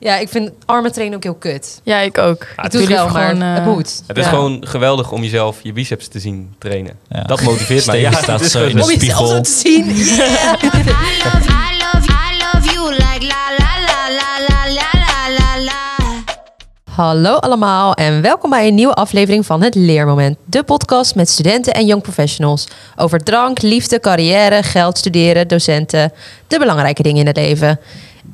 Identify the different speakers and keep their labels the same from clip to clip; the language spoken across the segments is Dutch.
Speaker 1: Ja, ik vind armen trainen ook heel kut.
Speaker 2: Ja, ik ook.
Speaker 1: ik doe het
Speaker 2: liep
Speaker 1: wel, maar
Speaker 2: gewoon, eh,
Speaker 1: het moet.
Speaker 3: Het is
Speaker 1: Ja.
Speaker 3: gewoon geweldig om jezelf je biceps te zien trainen.
Speaker 4: Ja.
Speaker 3: Dat motiveert mij.
Speaker 4: Steven
Speaker 3: het
Speaker 4: staat
Speaker 3: is
Speaker 4: zo
Speaker 3: gewoon
Speaker 4: in de
Speaker 1: Om jezelf zo
Speaker 4: spiegel.
Speaker 1: te zien. Yeah.
Speaker 5: I love, I love, I love you like la la la la la la la la la.
Speaker 1: Hallo allemaal en welkom bij een nieuwe aflevering van Het Leermoment. De podcast met studenten en young professionals. Over drank, liefde, carrière, geld, studeren, docenten. De belangrijke dingen in het leven.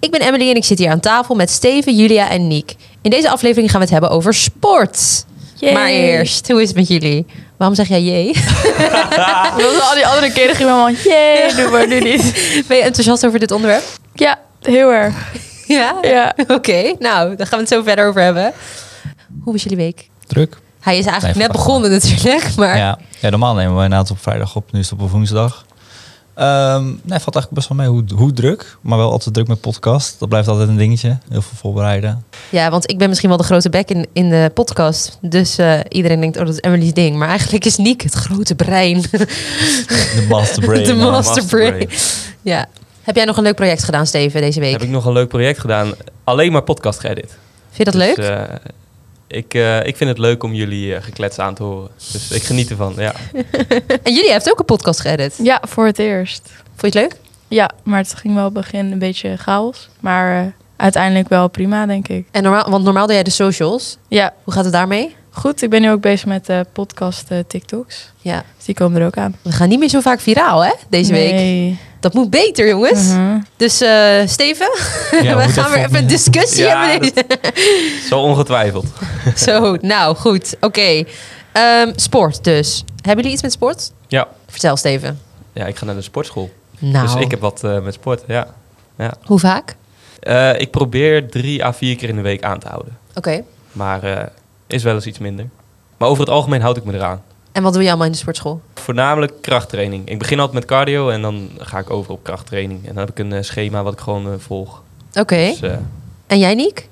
Speaker 1: Ik ben Emily en ik zit hier aan tafel met Steven, Julia en Niek. In deze aflevering gaan we het hebben over sport.
Speaker 2: Yay.
Speaker 1: Maar eerst, hoe is het met jullie? Waarom zeg jij jee?
Speaker 2: Omdat we Ah, al die andere keren gingen we allemaal, jee, doe maar nu niet.
Speaker 1: Ben je enthousiast over dit onderwerp?
Speaker 2: Ja, heel erg.
Speaker 1: Ja?
Speaker 2: Ja.
Speaker 1: Oké, nou, daar gaan we het zo verder over hebben. Hoe was jullie week?
Speaker 4: Druk.
Speaker 1: Hij is eigenlijk
Speaker 4: Nee,
Speaker 1: net begonnen natuurlijk, maar...
Speaker 4: Ja. ja, normaal nemen we inderdaad op vrijdag op. Nu is het op een woensdag. Ehm nee, valt eigenlijk best wel mee hoe, hoe druk. Maar wel altijd druk met podcast. Dat blijft altijd een dingetje. Heel veel voorbereiden.
Speaker 1: Ja, want ik ben misschien wel de grote bek in, in de podcast. Dus eh, iedereen denkt, oh, dat is Emily's ding. Maar eigenlijk is Niek het grote brein.
Speaker 4: De masterbrain.
Speaker 1: de
Speaker 4: brain.
Speaker 1: master brain. Ja. Heb jij nog een leuk project gedaan, Steven, deze week?
Speaker 3: Heb ik nog een leuk project gedaan. Alleen maar podcast geëdit.
Speaker 1: Vind je dat leuk?
Speaker 3: Dus, eh, ik, eh, ik vind het leuk om jullie eh, geklets aan te horen. Dus ik geniet ervan. Ja.
Speaker 1: En jullie heeft ook een podcast geëdit.
Speaker 2: Ja, voor het eerst.
Speaker 1: Vond je het leuk?
Speaker 2: Ja, maar het ging wel begin een beetje chaos. Maar eh, uiteindelijk wel prima, denk ik.
Speaker 1: En normaal, want normaal doe jij de socials.
Speaker 2: Ja,
Speaker 1: Hoe gaat het daarmee?
Speaker 2: goed. Ik ben nu ook bezig met eh podcast eh, TikToks.
Speaker 1: Ja.
Speaker 2: Dus die komen er ook aan.
Speaker 1: We gaan niet meer zo vaak viraal, hè? Deze week.
Speaker 2: Nee.
Speaker 1: Dat moet beter, jongens.
Speaker 2: Mhm.
Speaker 1: Dus eh, Steven,
Speaker 4: hoe
Speaker 1: we
Speaker 4: dat
Speaker 1: gaan weer
Speaker 4: volgende-
Speaker 1: even een discussie
Speaker 3: Ja,
Speaker 1: hebben. deze-
Speaker 3: Zo ongetwijfeld.
Speaker 1: Zo, nou goed. Oké. Ehm, sport dus. Hebben jullie iets met sport?
Speaker 3: Ja.
Speaker 1: Vertel Steven.
Speaker 3: Ja, ik ga naar de sportschool.
Speaker 1: Nou,
Speaker 3: Dus ik heb wat eh, met sport. Ja.
Speaker 1: hoe vaak?
Speaker 3: Eh, ik probeer drie à vier keer in de week aan te houden.
Speaker 1: Oké.
Speaker 3: Maar eh, is wel eens iets minder. Maar over het algemeen houd ik me eraan.
Speaker 1: En wat doe je allemaal in de sportschool?
Speaker 3: Voornamelijk krachttraining. Ik begin altijd met cardio en dan ga ik over op krachttraining. En dan heb ik een eh, schema wat ik gewoon eh, volg.
Speaker 1: Oké.
Speaker 3: Dus, eh,
Speaker 1: En jij, Niek?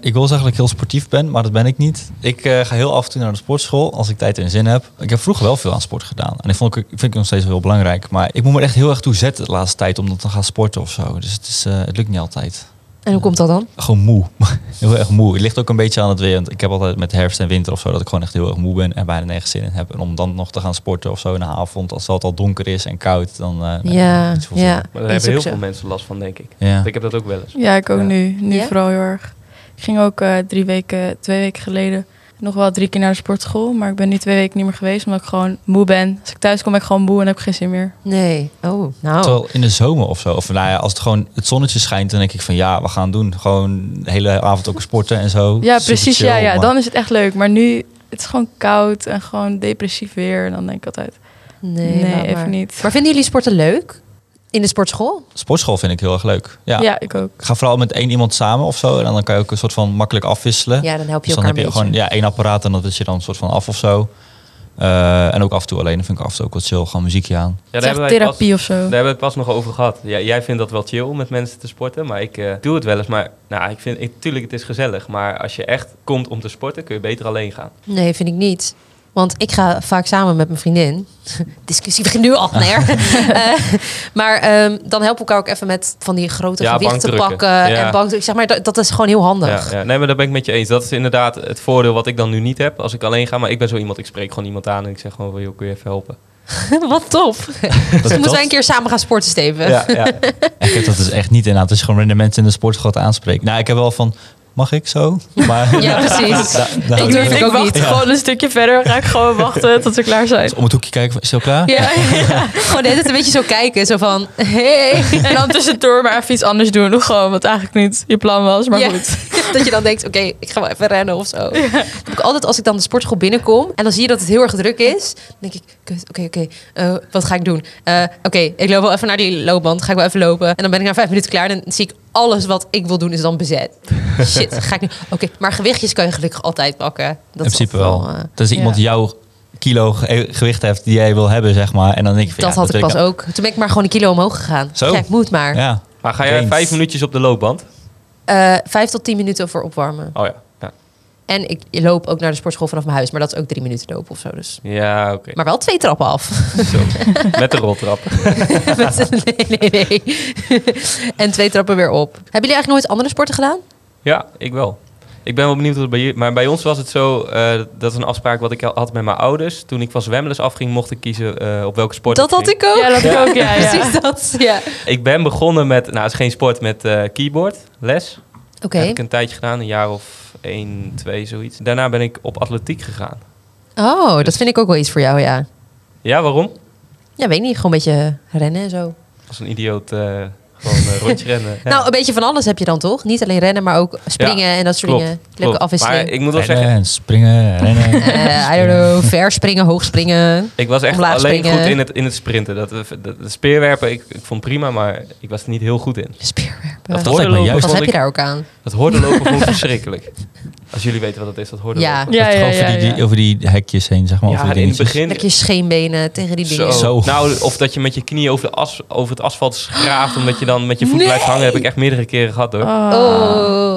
Speaker 4: Ik wil zeggen dat ik heel sportief ben, maar dat ben ik niet. Ik eh, ga heel af en toe naar de sportschool als ik tijd en zin heb. Ik heb vroeger wel veel aan sport gedaan. En ik vond, ik vind ik nog steeds wel heel belangrijk. Maar ik moet me er echt heel erg toe zetten de laatste tijd om dat te gaan sporten of zo. Dus het, is, eh, het lukt niet altijd.
Speaker 1: En hoe komt dat dan?
Speaker 4: Gewoon moe. heel erg moe. Het ligt ook een beetje aan het weer. Want ik heb altijd met herfst en winter of zo dat ik gewoon echt heel erg moe ben en bijna nergens zin in heb. En om dan nog te gaan sporten of zo in de avond, als het al donker is en koud, dan. eh, nee,
Speaker 1: ja,
Speaker 4: niet zoveel
Speaker 1: ja.
Speaker 3: maar daar
Speaker 1: Is
Speaker 3: hebben
Speaker 1: ook
Speaker 3: heel
Speaker 1: zo.
Speaker 3: veel mensen last van, denk ik.
Speaker 4: zin. Ja.
Speaker 3: Ik heb dat ook wel eens.
Speaker 2: Ja, ik ook
Speaker 3: Ja.
Speaker 2: nu. Nu
Speaker 1: Ja?
Speaker 2: vooral heel erg. Ik ging ook eh, drie weken, twee weken geleden nog wel drie keer naar de sportschool. Maar ik ben nu twee weken niet meer geweest, omdat ik gewoon moe ben. Als ik thuis kom, ben ik gewoon moe en heb ik geen zin meer.
Speaker 1: Nee. Oh, nou.
Speaker 4: Terwijl in de zomer of zo, of nou ja, als het gewoon het zonnetje schijnt, dan denk ik van ja, we gaan doen. Gewoon de hele avond ook sporten en zo.
Speaker 2: Ja,
Speaker 4: Super
Speaker 2: precies.
Speaker 4: chill,
Speaker 2: ja, ja,
Speaker 4: maar-
Speaker 2: dan is het echt leuk. Maar nu, het is gewoon koud en gewoon depressief weer. En dan denk ik altijd,
Speaker 1: Nee,
Speaker 2: nee,
Speaker 1: laat
Speaker 2: even
Speaker 1: maar.
Speaker 2: niet.
Speaker 1: Maar vinden jullie sporten leuk? In de sportschool?
Speaker 4: Sportschool vind ik heel erg leuk. Ja.
Speaker 2: Ja. ik ook.
Speaker 4: Ik ga vooral met één iemand samen of zo. En dan kan je ook een soort van makkelijk afwisselen.
Speaker 1: Ja, dan help je
Speaker 4: dus dan
Speaker 1: elkaar
Speaker 4: heb je
Speaker 1: een beetje.
Speaker 4: gewoon ja, één apparaat en dat is je dan een soort van af of zo. Eh, en ook af en toe alleen. Dan vind ik af en toe ook wat chill. Gewoon muziekje aan.
Speaker 3: Ja,
Speaker 2: het is echt
Speaker 3: wij pas-
Speaker 2: therapie of zo.
Speaker 3: Daar hebben we het pas nog over gehad. Ja, jij vindt dat wel chill om met mensen te sporten, maar ik eh, doe het wel eens. Maar nou, ik vind, ik, tuurlijk, het is gezellig. Maar als je echt komt om te sporten, kun je beter alleen gaan.
Speaker 1: Nee, vind ik niet. Want ik ga vaak samen met mijn vriendin. Discussie begint nu al, nee. Eh, maar ehm, dan helpen we elkaar ook even met van die grote
Speaker 3: Ja,
Speaker 1: gewichten
Speaker 3: bankdrukken.
Speaker 1: pakken.
Speaker 3: Ja.
Speaker 1: En bankdrukken. Zeg maar, dat, dat is gewoon heel handig.
Speaker 3: Ja, ja. Nee, maar daar ben ik met je eens. Dat is inderdaad het voordeel wat ik dan nu niet heb als ik alleen ga. Maar ik ben zo iemand, ik spreek gewoon iemand aan en ik zeg gewoon, van, joh, kun je even helpen?
Speaker 1: Wat top. Dus
Speaker 4: Dat-
Speaker 1: moeten
Speaker 4: dat-
Speaker 1: wij een keer samen gaan sporten, Steven.
Speaker 3: Ja, ja.
Speaker 4: Ik heb dat dus echt niet inderdaad. Het is gewoon random mensen in de sportschool te aanspreken. Nou, ik heb wel van, mag ik zo? Maar, nou,
Speaker 1: Ja, precies.
Speaker 4: Da- da-
Speaker 1: Ik durf
Speaker 2: ik
Speaker 1: ook
Speaker 2: wacht
Speaker 1: niet.
Speaker 2: gewoon een stukje verder. Ga ik gewoon wachten tot ze klaar zijn.
Speaker 4: Dus om het hoekje kijken, van, is het al klaar?
Speaker 1: Ja, ja. gewoon de hele tijd een beetje zo kijken. Zo van, hey.
Speaker 2: En dan tussendoor maar even iets anders doen. Gewoon, wat eigenlijk niet je plan was. Maar
Speaker 1: Ja.
Speaker 2: goed.
Speaker 1: Dat je dan denkt, oké, ik ga wel even rennen of zo. Dat heb ik altijd als ik dan de sportschool binnenkom en dan zie je dat het heel erg druk is. Dan denk ik, kut, oké, oké, eh, wat ga ik doen? Eh, oké, ik loop wel even naar die loopband. Ga ik wel even lopen. En dan ben ik na vijf minuten klaar en dan zie ik alles wat ik wil doen is dan bezet. Shit, ga ik nu... Oké, maar gewichtjes kan je gelukkig altijd pakken. Dat
Speaker 4: in
Speaker 1: is
Speaker 4: principe
Speaker 1: altijd
Speaker 4: wel.
Speaker 1: eh,
Speaker 4: Dat is iemand
Speaker 2: Ja.
Speaker 4: jouw kilo ge- eh, gewicht heeft die jij wil hebben, zeg maar. En dan denk ik van,
Speaker 1: dat
Speaker 4: ja,
Speaker 1: had ik
Speaker 4: wil
Speaker 1: pas ook. Toen ben ik maar gewoon een kilo omhoog gegaan.
Speaker 4: Zo.
Speaker 1: Ja, ik moet maar.
Speaker 4: Ja.
Speaker 3: Maar ga jij
Speaker 4: Eens.
Speaker 3: vijf minuutjes op de loopband?
Speaker 1: Eh, vijf tot tien minuten voor opwarmen.
Speaker 3: Oh ja. Ja,
Speaker 1: En ik loop ook naar de sportschool vanaf mijn huis. Maar dat is ook drie minuten lopen of zo. Dus.
Speaker 3: ja oké.
Speaker 1: Maar wel twee trappen af.
Speaker 3: Zo. Met de roltrap.
Speaker 1: Met- nee, nee, nee. en twee trappen weer op. Hebben jullie eigenlijk nooit andere sporten gedaan?
Speaker 3: Ja, ik wel. Ik ben wel benieuwd hoe het bij jullie... Maar bij ons was het zo, eh, dat is een afspraak wat ik al- had met mijn ouders. Toen ik van zwemles afging, mocht ik kiezen eh, op welke sport
Speaker 1: Dat had
Speaker 3: ging.
Speaker 1: ik ook.
Speaker 2: Ja, dat had ik ook, ja. ja.
Speaker 1: Precies dat. Ja.
Speaker 3: Ik ben begonnen met, nou het is geen sport, met eh, keyboard, les.
Speaker 1: Oké.
Speaker 3: Heb ik een tijdje gedaan, een jaar of één, twee, zoiets. Daarna ben ik op atletiek gegaan.
Speaker 1: Oh, dat vind ik ook wel iets voor jou, ja.
Speaker 3: Ja, waarom?
Speaker 1: Ja, weet niet. Gewoon een beetje rennen en zo.
Speaker 3: Als een idioot eh, gewoon een rondje rennen. Ja.
Speaker 1: Nou, een beetje van alles heb je dan toch? Niet alleen rennen, maar ook springen en dat soort
Speaker 3: Klopt,
Speaker 1: dingen. Leuke
Speaker 3: klopt.
Speaker 1: afwisseling.
Speaker 3: Maar ik moet wel
Speaker 4: Rennen
Speaker 3: zeggen,
Speaker 4: en eh, springen, rennen.
Speaker 1: Eh, I don't know. Ver springen, hoog springen.
Speaker 3: ik was echt
Speaker 1: Omlaag
Speaker 3: alleen
Speaker 1: springen.
Speaker 3: goed in het, in het sprinten. Dat, eh, dat, dat speerwerpen, ik, ik vond prima, maar ik was er niet heel goed in.
Speaker 1: Speerwerpen.
Speaker 3: Dat
Speaker 1: Wat,
Speaker 4: lijkt me
Speaker 3: hordenlopen
Speaker 4: juist-
Speaker 3: vond
Speaker 1: heb je
Speaker 3: ik-
Speaker 1: daar ook aan?
Speaker 3: Dat hoorde lopen vond ik verschrikkelijk. Als jullie weten wat dat is, dat hoorde
Speaker 1: Ja.
Speaker 3: lopen.
Speaker 2: Ja,
Speaker 4: Dat
Speaker 2: ja,
Speaker 4: gewoon
Speaker 2: ja,
Speaker 4: over, die,
Speaker 2: ja.
Speaker 4: die- over die hekjes heen, zeg maar.
Speaker 3: Ja,
Speaker 4: over die
Speaker 3: in het
Speaker 4: dingetjes.
Speaker 3: begin.
Speaker 1: Dat je scheenbenen tegen die dingen.
Speaker 3: Zo.
Speaker 4: Zo.
Speaker 3: Nou, of dat je met je knieën over, de as, over het asfalt schraaft. omdat je dan met je voet
Speaker 1: Nee.
Speaker 3: blijft hangen. heb ik echt meerdere keren gehad hoor.
Speaker 1: Oh.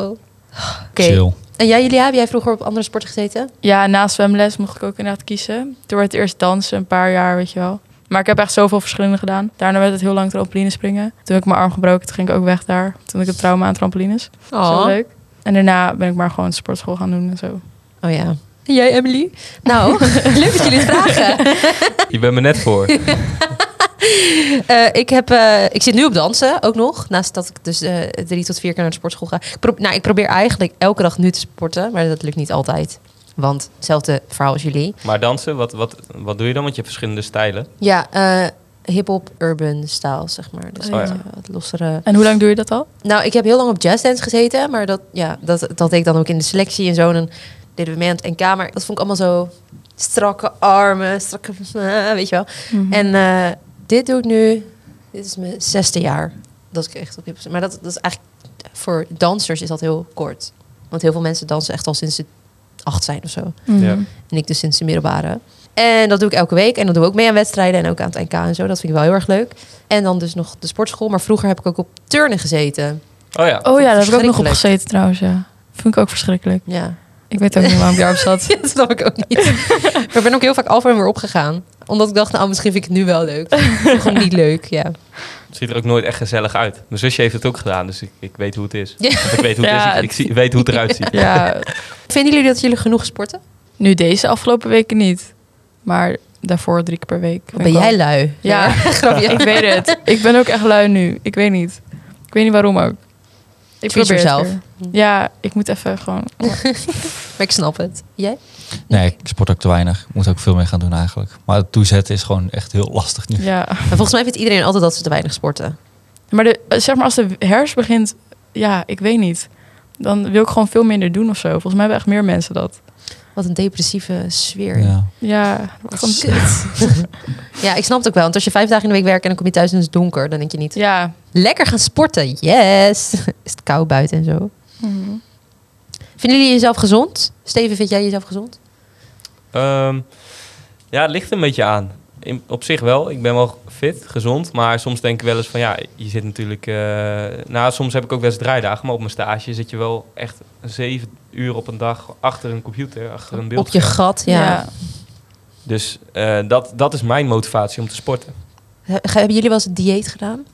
Speaker 1: Oké.
Speaker 3: Ah.
Speaker 4: Chill.
Speaker 1: En jij, Julia, heb jij vroeger op andere sporten gezeten?
Speaker 2: Ja, na zwemles mocht ik ook inderdaad kiezen. Toen werd het eerst dansen, een paar jaar, weet je wel. Maar ik heb echt zoveel verschillende gedaan. Daarna werd het heel lang trampoline springen. Toen heb ik mijn arm gebroken, toen ging ik ook weg daar. Toen had ik het trauma aan trampolines. Zo leuk. En daarna ben ik maar gewoon sportschool gaan doen en zo.
Speaker 1: Oh ja. En jij, Emily? Nou, leuk dat jullie het vragen.
Speaker 3: Je bent me net voor.
Speaker 1: Eh, ik, heb, eh, ik zit nu op dansen ook nog. Naast dat ik dus eh, drie tot vier keer naar de sportschool ga. Ik, pro- nou, ik probeer eigenlijk elke dag nu te sporten. Maar dat lukt niet altijd. Want hetzelfde verhaal als jullie.
Speaker 3: Maar dansen, wat, wat, wat doe je dan? Want je hebt verschillende stijlen.
Speaker 1: Ja, eh hip-hop, urban style, zeg maar. Dus
Speaker 2: Oh ja.
Speaker 1: wat, eh, wat lossere.
Speaker 2: En hoe lang doe je dat al?
Speaker 1: Nou, ik heb heel lang op jazzdance gezeten. Maar dat, ja, dat, dat deed ik dan ook in de selectie en zo. En dan deden we mee aan het NK. Maar dat vond ik allemaal zo strakke armen, strakke... Weet je wel.
Speaker 2: Mhm.
Speaker 1: En eh, dit doe ik nu. Dit is mijn zesde jaar dat ik echt op hip Maar dat, dat is eigenlijk voor dansers is dat heel kort. Want heel veel mensen dansen echt al sinds ze acht zijn of zo.
Speaker 3: Ja.
Speaker 1: En ik dus sinds de middelbare. En dat doe ik elke week. En dan doe ik ook mee aan wedstrijden en ook aan het NK en zo. Dat vind ik wel heel erg leuk. En dan dus nog de sportschool. Maar vroeger heb ik ook op turnen gezeten.
Speaker 3: Oh ja.
Speaker 2: Oh ja, daar heb ik ook nog op
Speaker 1: Verschrikkelijk.
Speaker 2: gezeten trouwens, ja. Vond ik ook verschrikkelijk.
Speaker 1: Ja,
Speaker 2: Ik weet ook niet waarom ik daarop zat.
Speaker 1: dat snap ik ook niet. maar ik ben ook heel vaak af en weer opgegaan. Omdat ik dacht, nou misschien vind ik het nu wel leuk. Gewoon niet leuk, ja.
Speaker 3: Het ziet er ook nooit echt gezellig uit. Mijn zusje heeft het ook gedaan, dus ik, ik weet hoe het is.
Speaker 1: Ja.
Speaker 3: Of Ik weet hoe het
Speaker 2: Ja,
Speaker 3: is. Ik, ik zie, weet hoe het eruit ziet.
Speaker 2: Ja,
Speaker 1: Vinden jullie dat jullie genoeg sporten?
Speaker 2: nu deze afgelopen weken niet. Maar daarvoor drie keer per week.
Speaker 1: Wat ben jij lui?
Speaker 2: Ja.
Speaker 1: grapje.
Speaker 2: Ik weet het. Ik ben ook echt lui nu. Ik weet niet. Ik weet niet waarom ook. Ik
Speaker 1: Treat
Speaker 2: probeer het
Speaker 1: yourself.
Speaker 2: weer. Ja, ik moet even gewoon...
Speaker 1: Maar ik snap het. Jij?
Speaker 4: Nee, ik sport ook te weinig. Ik moet ook veel meer gaan doen eigenlijk. Maar het toezetten is gewoon echt heel lastig nu.
Speaker 2: Ja.
Speaker 1: Maar volgens mij vindt iedereen altijd dat ze te weinig sporten.
Speaker 2: Maar de, zeg maar, als de herfst begint... Ja, ik weet niet. Dan wil ik gewoon veel minder doen of zo. Volgens mij hebben echt meer mensen dat.
Speaker 1: Wat een depressieve sfeer.
Speaker 4: Ja.
Speaker 2: Ja. gewoon-
Speaker 1: Kut. ja, ik snap het ook wel. Want als je vijf dagen in de week werkt en dan kom je thuis en het is donker, dan denk je niet.
Speaker 2: Ja.
Speaker 1: Lekker gaan sporten, yes. is het koud buiten en zo.
Speaker 2: Mhm.
Speaker 1: Vinden jullie jezelf gezond? Steven, vind jij jezelf gezond?
Speaker 3: Ehm, ja, het ligt een beetje aan. In, op zich wel. Ik ben wel fit, gezond. Maar soms denk ik wel eens van ja, je zit natuurlijk. eh, nou, soms heb ik ook wel eens draaidagen. Maar op mijn stage zit je wel echt zeven uur op een dag achter een computer, achter een
Speaker 1: Op je
Speaker 3: beeldscherm.
Speaker 1: gat, ja.
Speaker 2: Ja.
Speaker 3: Dus eh, dat, dat is mijn motivatie om te sporten.
Speaker 1: He- Hebben jullie wel eens een dieet gedaan?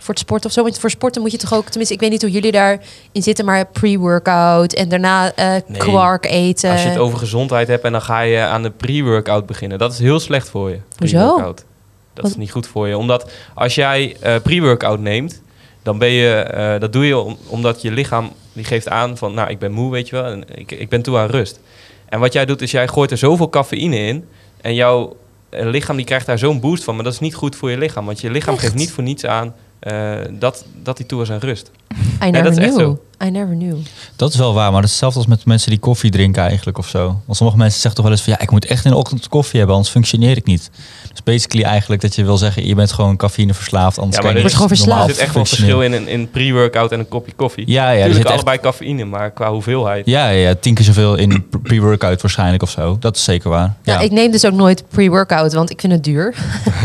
Speaker 1: Voor het sporten of zo? Want voor sporten moet je toch ook... Tenminste, ik weet niet hoe jullie daarin zitten, maar pre-workout en daarna eh
Speaker 3: Nee.
Speaker 1: kwark eten.
Speaker 3: Als je het over gezondheid hebt en dan ga je aan de pre-workout beginnen. Dat is heel slecht voor je.
Speaker 1: Hoezo?
Speaker 3: pre-workout. Dat
Speaker 1: Wat-
Speaker 3: is niet goed voor je. Omdat als jij eh, pre-workout neemt, dan ben je, eh, dat doe je om- omdat je lichaam die geeft aan van, nou ik ben moe, weet je wel, en ik, ik ben toe aan rust. En wat jij doet is jij gooit er zoveel cafeïne in en jouw eh, lichaam die krijgt daar zo'n boost van, maar dat is niet goed voor je lichaam, want je lichaam
Speaker 1: Echt?
Speaker 3: geeft niet voor niets aan eh, dat dat hij toe is aan rust.
Speaker 1: I never
Speaker 3: dat is echt
Speaker 1: knew. I never knew.
Speaker 4: Dat is wel waar, maar dat is hetzelfde als met mensen die koffie drinken eigenlijk of zo. Want sommige mensen zeggen toch wel eens van ja, ik moet echt in de ochtend koffie hebben, anders functioneer ik niet. Dus basically eigenlijk dat je wil zeggen, je bent gewoon cafeïne verslaafd, anders
Speaker 3: Ja,
Speaker 4: kan
Speaker 3: maar
Speaker 4: je
Speaker 3: er
Speaker 4: niet
Speaker 1: is- Wordt gewoon
Speaker 4: normaal
Speaker 3: Er
Speaker 1: verslaafd.
Speaker 3: zit echt wel een verschil
Speaker 4: functioneren.
Speaker 3: in, in, in pre-workout en een kopje koffie.
Speaker 4: Ja, ja, er zit
Speaker 3: Natuurlijk
Speaker 4: echt,
Speaker 3: allebei cafeïne, maar qua hoeveelheid.
Speaker 4: ja, ja, ja, tien keer zoveel in pre-workout waarschijnlijk of zo. Dat is zeker waar. Ja,
Speaker 1: Nou, ik neem dus ook nooit pre-workout, want ik vind het duur.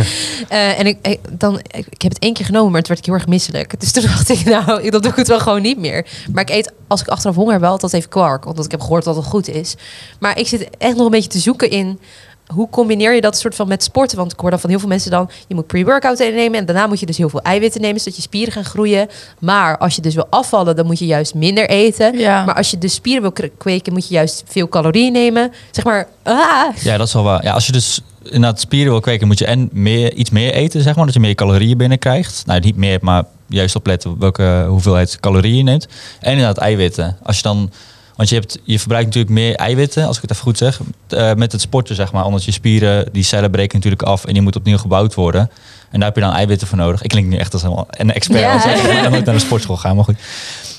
Speaker 1: Eh, en ik, ik- dan, ik, ik heb het één keer genomen, maar toen werd ik heel erg misselijk. Dus toen dacht ik, nou, ik, dat doe ik het wel gewoon niet meer. Maar ik eet, als ik achteraf honger heb, wel altijd even kwark. Omdat ik heb gehoord dat het goed is. Maar ik zit echt nog een beetje te zoeken in... hoe combineer je dat soort van met sporten? Want ik hoor dan van heel veel mensen dan, je moet pre-workout nemen en daarna moet je dus heel veel eiwitten nemen, zodat je spieren gaan groeien. Maar als je dus wil afvallen, dan moet je juist minder eten.
Speaker 2: Ja.
Speaker 1: Maar als je dus spieren wil kre- kweken, moet je juist veel calorieën nemen. Zeg maar, ah,
Speaker 4: Ja, dat is wel waar. Ja, als je dus inderdaad spieren wil kweken, moet je en meer, iets meer eten, zeg maar. Dat je meer calorieën binnenkrijgt. Nou, niet meer, maar juist opletten welke hoeveelheid calorieën je neemt. En inderdaad eiwitten. Als je dan... Want je, hebt, je verbruikt natuurlijk meer eiwitten, als ik het even goed zeg, eh, met het sporten, zeg maar. Omdat je spieren, die cellen breken natuurlijk af en die moeten opnieuw gebouwd worden. En daar heb je dan eiwitten voor nodig. Ik klink nu echt als helemaal een expert,
Speaker 1: Ja.
Speaker 4: als ik dan nooit naar de sportschool ga, maar goed.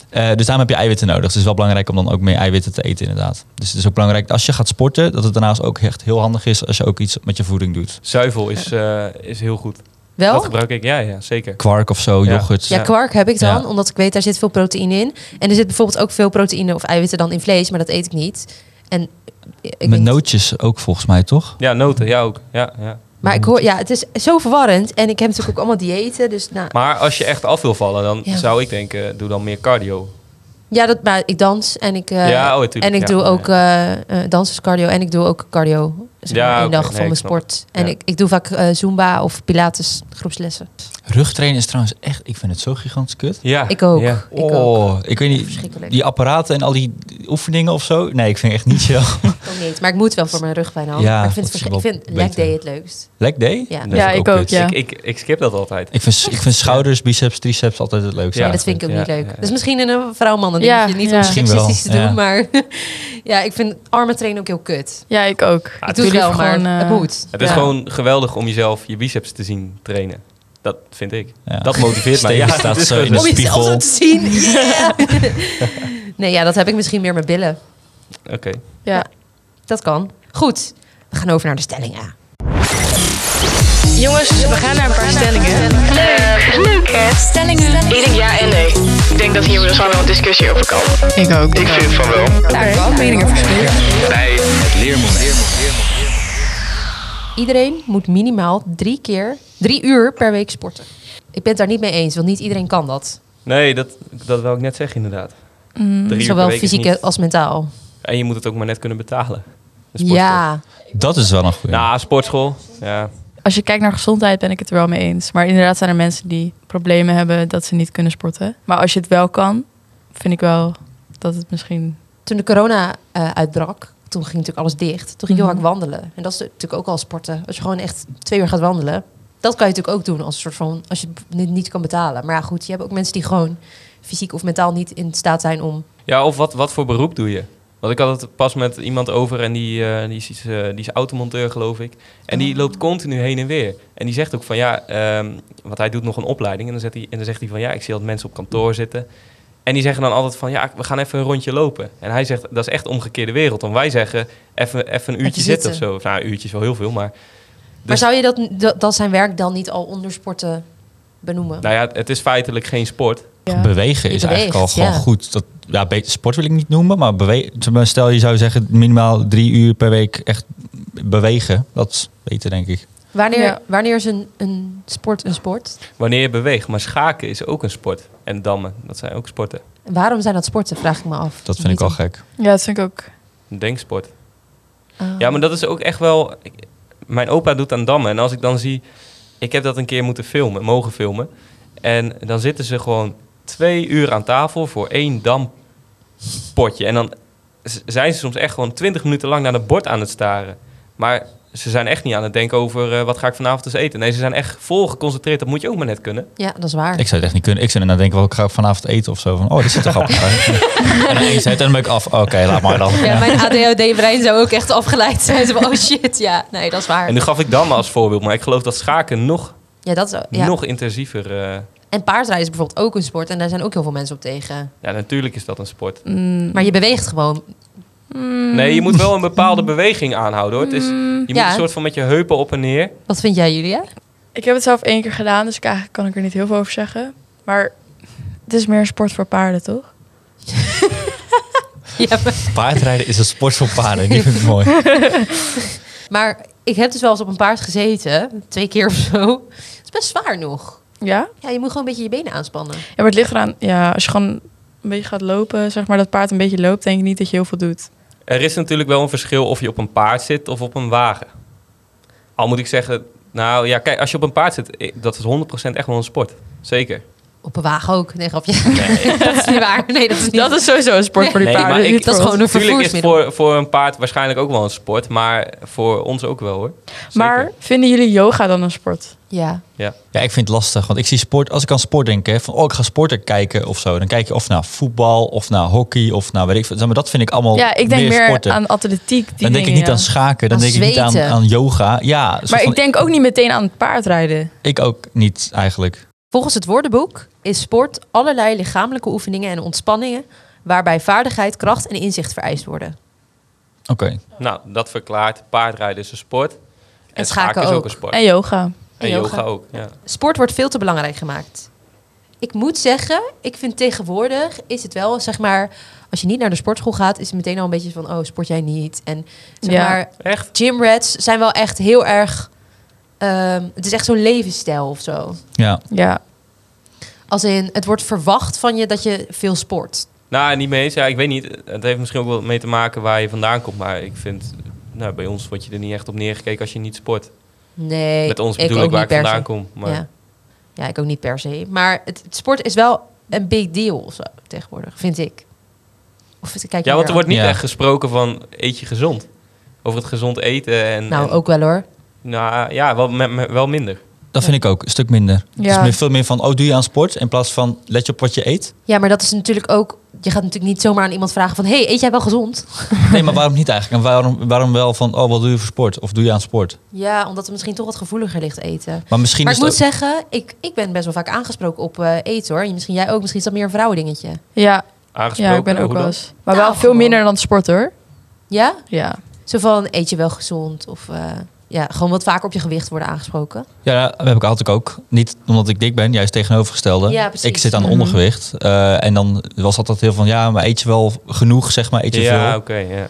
Speaker 4: Eh, dus daarom heb je eiwitten nodig. Dus het is wel belangrijk om dan ook meer eiwitten te eten, inderdaad. Dus het is ook belangrijk als je gaat sporten, dat het daarnaast ook echt heel handig is als je ook iets met je voeding doet.
Speaker 3: Zuivel is, eh, is heel goed.
Speaker 1: wel?
Speaker 3: Dat gebruik ik, ja, ja zeker.
Speaker 4: Kwark of zo,
Speaker 3: Ja.
Speaker 4: yoghurt.
Speaker 1: Ja,
Speaker 3: Ja.
Speaker 1: kwark heb ik dan,
Speaker 4: Ja.
Speaker 1: omdat ik weet daar zit veel proteïne in. En er zit bijvoorbeeld ook veel proteïne of eiwitten dan in vlees, maar dat eet ik niet. En eh, ik weet
Speaker 4: met
Speaker 1: niet.
Speaker 4: nootjes ook volgens mij, toch?
Speaker 3: Ja, noten, ja ook. Ja, ja.
Speaker 1: Maar ik hoor, ja, het is zo verwarrend. En ik heb natuurlijk ook allemaal diëten, dus nou,
Speaker 3: Maar als je echt af wil vallen, dan
Speaker 1: Ja.
Speaker 3: zou ik denken, doe dan meer cardio.
Speaker 1: ja, dat, maar ik dans en ik, eh,
Speaker 3: Ja, oh, tuurlijk,
Speaker 1: en ik
Speaker 3: ja.
Speaker 1: doe ook eh eh, dans is cardio en ik doe ook cardio. Zeg
Speaker 3: Ja,
Speaker 1: maar, één
Speaker 3: oké,
Speaker 1: dag
Speaker 3: nee,
Speaker 1: van mijn
Speaker 3: ik snap
Speaker 1: sport. En
Speaker 3: Ja.
Speaker 1: ik, ik doe vaak eh, zumba of pilates groepslessen.
Speaker 4: Rugtrainen is trouwens echt, ik vind het zo gigantisch kut. Oh,
Speaker 3: Ja.
Speaker 1: Ik ook.
Speaker 3: Ja.
Speaker 1: Ik ook.
Speaker 4: ik weet niet,
Speaker 1: Verschrikkelijk.
Speaker 4: die apparaten en al die oefeningen of zo. Nee, ik vind het echt niet chill.
Speaker 1: Ik ook niet, maar ik moet wel voor mijn rugpijn al.
Speaker 4: Ja,
Speaker 1: maar ik vind, het
Speaker 4: dat is
Speaker 1: verschri- ik
Speaker 4: wel
Speaker 1: vind leg
Speaker 4: beter.
Speaker 1: day het leukst.
Speaker 4: Leg day?
Speaker 1: Ja.
Speaker 4: Dat
Speaker 2: Ja,
Speaker 4: vind
Speaker 2: ik ook,
Speaker 4: kut.
Speaker 2: ja.
Speaker 3: Ik, ik, ik skip dat altijd.
Speaker 4: Ik vind, ik vind schouders, biceps, triceps altijd het leukste.
Speaker 3: Ja,
Speaker 1: Ja, dat vind ik ook
Speaker 3: ja,
Speaker 1: niet leuk.
Speaker 3: ja, ja.
Speaker 1: Dus misschien in een vrouwmannen dingetje.
Speaker 2: Ja,
Speaker 1: niet
Speaker 2: ja.
Speaker 1: om
Speaker 4: Misschien wel,
Speaker 1: seksistisch te doen,
Speaker 4: ja.
Speaker 1: maar ja, ik vind armen trainen ook heel kut.
Speaker 2: Ja, ik ook.
Speaker 1: ik Ah, doe het wel,
Speaker 2: liever
Speaker 1: maar
Speaker 2: eh,
Speaker 1: het moet.
Speaker 3: Het is
Speaker 2: Ja.
Speaker 3: gewoon geweldig om jezelf je biceps te zien trainen. Dat vind ik.
Speaker 4: Ja.
Speaker 3: Dat motiveert mij.
Speaker 4: Steven
Speaker 3: Ja, dus
Speaker 4: staat
Speaker 3: het is
Speaker 4: zo
Speaker 3: gewoon-
Speaker 4: in de
Speaker 1: Om jezelf
Speaker 4: spiegel.
Speaker 1: zo te zien. Yeah. nee, ja, dat heb ik misschien meer met billen.
Speaker 3: Oké.
Speaker 2: Ja.
Speaker 1: Dat kan. Goed, we gaan over naar de stellingen.
Speaker 6: Jongens, we gaan naar een paar stellingen. Leuk. Leuk, hè? Stellingen. Ik denk ja en nee. Ik denk dat hier dus wel een discussie over kan.
Speaker 2: Ik ook. Ik
Speaker 7: vind van wel.
Speaker 2: meningen verschillen.
Speaker 7: Bij het leermoment.
Speaker 1: Iedereen moet minimaal drie keer, drie uur per week sporten. Ik ben het daar niet mee eens, want niet iedereen kan dat.
Speaker 3: Nee, dat, dat wil ik net zeggen inderdaad. Drie uur
Speaker 1: Mm, Zowel
Speaker 3: per week is
Speaker 1: fysiek
Speaker 3: niet-
Speaker 1: als mentaal.
Speaker 3: En je moet het ook maar net kunnen betalen. Een sportschool.
Speaker 1: Ja,
Speaker 4: Dat is wel een goede.
Speaker 3: Nou, sportschool. Ja.
Speaker 2: Als je kijkt naar gezondheid ben ik het er wel mee eens. Maar inderdaad zijn er mensen die problemen hebben dat ze niet kunnen sporten. Maar als je het wel kan, vind ik wel dat het misschien...
Speaker 1: toen de corona eh, uitbrak, toen ging natuurlijk alles dicht. Toen ging ik heel hard wandelen. En dat is natuurlijk ook al sporten. Als je gewoon echt twee uur gaat wandelen. Dat kan je natuurlijk ook doen als een soort van, als je het niet- niet kan betalen. Maar ja, goed, je hebt ook mensen die gewoon fysiek of mentaal niet in staat zijn om
Speaker 3: Ja, of wat, wat voor beroep doe je? Want ik had het pas met iemand over en die, eh, die, is, iets, eh, die is automonteur, geloof ik. En
Speaker 1: Oh.
Speaker 3: die loopt continu heen en weer. En die zegt ook van ja, ehm, want hij doet nog een opleiding. En dan, zegt hij, en dan zegt hij van ja, ik zie dat mensen op kantoor zitten. En die zeggen dan altijd van ja, we gaan even een rondje lopen. En hij zegt dat is echt omgekeerde wereld. Want wij zeggen even, even een uurtje
Speaker 1: zitten.
Speaker 3: zitten. of zo. Of, nou, een uurtje is wel heel veel, maar.
Speaker 1: Maar
Speaker 3: Dus-
Speaker 1: zou je dat, dat, dat zijn werk dan niet al onder sporten benoemen?
Speaker 3: Nou ja, het is feitelijk geen sport.
Speaker 2: Ja.
Speaker 4: Bewegen
Speaker 1: Je
Speaker 4: is eigenlijk al
Speaker 1: beweegt,
Speaker 4: gewoon
Speaker 1: ja.
Speaker 4: goed. Dat, ja, be- sport wil ik niet noemen, maar bewe- tenminste, stel je zou zeggen minimaal drie uur per week echt bewegen. Dat is beter, denk ik.
Speaker 1: Wanneer,
Speaker 2: Ja.
Speaker 1: wanneer is een, een sport een sport?
Speaker 3: Wanneer je beweegt. Maar schaken is ook een sport. En dammen, dat zijn ook sporten.
Speaker 1: En waarom zijn dat sporten, vraag ik me af.
Speaker 4: Dat vind ik al gek.
Speaker 2: Ja, dat vind ik ook.
Speaker 3: Een denksport.
Speaker 1: Ah.
Speaker 3: Ja, maar dat is ook echt wel. ik- mijn opa doet aan dammen. En als ik dan zie. Ik heb dat een keer moeten filmen, mogen filmen. En dan zitten ze gewoon twee uur aan tafel voor één dampotje. En dan z- zijn ze soms echt gewoon twintig minuten lang naar het bord aan het staren. Maar ze zijn echt niet aan het denken over eh, wat ga ik vanavond eens eten. Nee, ze zijn echt vol geconcentreerd. Dat moet je ook maar net kunnen.
Speaker 1: Ja, dat is waar.
Speaker 4: Ik zou het echt niet kunnen. Ik zou ernaar denken, wel, ik ga vanavond eten of zo. Van, oh, dit zit toch grappig uit. en dan eens uit en dan ben ik af. Oké, laat maar dan.
Speaker 1: Ja,
Speaker 4: Ja.
Speaker 1: mijn ADHD-brein zou ook echt afgeleid zijn. Zo van, oh shit, ja. Nee, dat is waar.
Speaker 3: En nu gaf ik dammen als voorbeeld. Maar ik geloof dat schaken nog,
Speaker 1: Ja, dat is, ja.
Speaker 3: nog intensiever. eh,
Speaker 1: En paardrijden is bijvoorbeeld ook een sport. En daar zijn ook heel veel mensen op tegen.
Speaker 3: ja, natuurlijk is dat een sport.
Speaker 1: Maar je beweegt gewoon.
Speaker 3: Nee, je moet wel een bepaalde beweging aanhouden hoor. Het is, je moet
Speaker 1: Mm. Ja.
Speaker 3: een soort van met je heupen op en neer.
Speaker 1: Wat vind jij, Julia?
Speaker 2: Ik heb het zelf één keer gedaan, dus ik- eigenlijk kan ik er niet heel veel over zeggen. Maar het is meer een sport voor paarden, toch?
Speaker 1: Ja, maar,
Speaker 4: Paardrijden is een sport voor paarden. Die vind ik mooi.
Speaker 1: maar ik heb dus wel eens op een paard gezeten. Twee keer of zo. Het is best zwaar nog.
Speaker 2: Ja?
Speaker 1: Ja, je moet gewoon een beetje je benen aanspannen.
Speaker 2: Ja, maar het ligt eraan... Ja, als je gewoon een beetje gaat lopen, zeg maar, dat paard een beetje loopt... denk ik niet dat je heel veel doet.
Speaker 3: Er is natuurlijk wel een verschil of je op een paard zit of op een wagen. Al moet ik zeggen, nou ja, kijk, als je op een paard zit, eh, dat is 100% echt wel een sport. Zeker.
Speaker 1: Op een wagen ook. Nee, grapje. dat is niet waar. Nee, dat is niet
Speaker 2: Dat is sowieso een sport voor die
Speaker 3: Nee,
Speaker 2: paarden.
Speaker 3: maar ik-
Speaker 2: niet
Speaker 1: dat is
Speaker 2: voor
Speaker 1: gewoon een
Speaker 2: ons.
Speaker 3: Natuurlijk is het
Speaker 1: vervoersmiddel.
Speaker 3: voor, voor een paard waarschijnlijk ook wel een sport, maar voor ons ook wel hoor. Zeker.
Speaker 2: Maar vinden jullie yoga dan een sport?
Speaker 1: Ja.
Speaker 4: Ja, ik vind het lastig, want ik zie sport, als ik aan sport denk, hè, van oh, ik ga sporten kijken of zo, dan kijk je of naar voetbal of naar hockey of naar weet ik veel. Zeg Maar dat vind ik allemaal
Speaker 2: Ja, ik denk meer,
Speaker 4: sporten.
Speaker 2: aan atletiek. Die
Speaker 4: dan denk ik
Speaker 2: dingen,
Speaker 4: niet aan
Speaker 2: ja.
Speaker 4: schaken, dan
Speaker 1: Aan
Speaker 4: denk ik niet aan,
Speaker 1: zweten.
Speaker 4: aan yoga. Ja,
Speaker 2: Maar ik denk ook niet meteen aan het paardrijden.
Speaker 4: ik ook niet eigenlijk.
Speaker 1: Volgens het woordenboek is sport allerlei lichamelijke oefeningen en ontspanningen waarbij vaardigheid, kracht en inzicht vereist worden.
Speaker 4: Oké.
Speaker 3: Nou, dat verklaart paardrijden is een sport. En,
Speaker 1: schaken
Speaker 3: is ook
Speaker 1: ook.
Speaker 3: een sport. En,
Speaker 2: En yoga.
Speaker 3: yoga.
Speaker 1: yoga.
Speaker 3: ook. Ja.
Speaker 1: Sport wordt veel te belangrijk gemaakt. Ik moet zeggen, ik vind tegenwoordig is het wel, zeg maar, als je niet naar de sportschool gaat, is het meteen al een beetje van, oh, sport jij niet? En zeg
Speaker 2: Ja.
Speaker 1: maar,
Speaker 3: Echt?
Speaker 1: gymrats zijn wel echt heel erg, ehm, het is echt zo'n levensstijl of zo.
Speaker 4: Ja.
Speaker 2: Ja.
Speaker 1: Als in, het wordt verwacht van je dat je veel sport.
Speaker 3: Nou, niet mee eens. Ja, ik weet niet. Het heeft misschien ook wel mee te maken waar je vandaan komt. Maar ik vind, nou, bij ons word je er niet echt op neergekeken als je niet sport.
Speaker 1: Nee,
Speaker 3: Met ons
Speaker 1: ik
Speaker 3: bedoel
Speaker 1: ook
Speaker 3: ik waar
Speaker 1: niet
Speaker 3: ik
Speaker 1: per se.
Speaker 3: vandaan kom. Maar
Speaker 1: Ja. ja, ik ook niet per se. Maar het, het sport is wel een big deal of zo, tegenwoordig, vind ik. Of kijk je
Speaker 3: Ja, want
Speaker 1: weer
Speaker 3: er wordt niet
Speaker 4: Ja.
Speaker 3: echt gesproken van eet je gezond. Over het gezond eten. En,
Speaker 1: aan- Nou,
Speaker 3: en-
Speaker 1: ook wel hoor.
Speaker 3: Nou, ja, wel, me- me- wel minder.
Speaker 4: Dat vind ik ook, een stuk minder. Het is
Speaker 2: Ja.
Speaker 4: meer, veel meer van, oh, doe je aan sport? In plaats van, let je op wat je eet?
Speaker 1: Ja, maar dat is natuurlijk ook... Je gaat natuurlijk niet zomaar aan iemand vragen van... hey, eet jij wel gezond?
Speaker 4: Nee, maar waarom niet eigenlijk? En waarom, waarom wel van, oh, wat doe je voor sport? Of doe je aan sport?
Speaker 1: Ja, omdat het misschien toch wat gevoeliger ligt eten.
Speaker 4: Maar misschien
Speaker 1: Maar
Speaker 4: is
Speaker 1: ik moet
Speaker 4: het ook-
Speaker 1: zeggen, ik, ik ben best wel vaak aangesproken op eh, eten hoor. En Misschien jij ook, misschien is dat meer een vrouwendingetje.
Speaker 2: Ja,
Speaker 3: Aangesproken.
Speaker 2: ja, ik ben ook
Speaker 3: hoe
Speaker 2: wel
Speaker 3: dan?
Speaker 2: eens. Maar
Speaker 1: Nou,
Speaker 2: wel veel
Speaker 1: gewoon.
Speaker 2: minder dan sport hoor.
Speaker 1: Ja?
Speaker 2: Ja.
Speaker 1: Zo van, eet je wel gezond? Of eh, ja, gewoon wat vaker op je gewicht worden aangesproken.
Speaker 4: Ja, dat heb ik altijd ook. Niet omdat ik dik ben, juist tegenovergestelde.
Speaker 1: Ja, precies.
Speaker 4: ik zit aan
Speaker 2: Mhm.
Speaker 4: ondergewicht. eh, en dan was altijd heel van, ja, maar eet je wel genoeg, zeg maar, eet je
Speaker 3: Ja, oké.
Speaker 4: veel?
Speaker 3: ja, ja.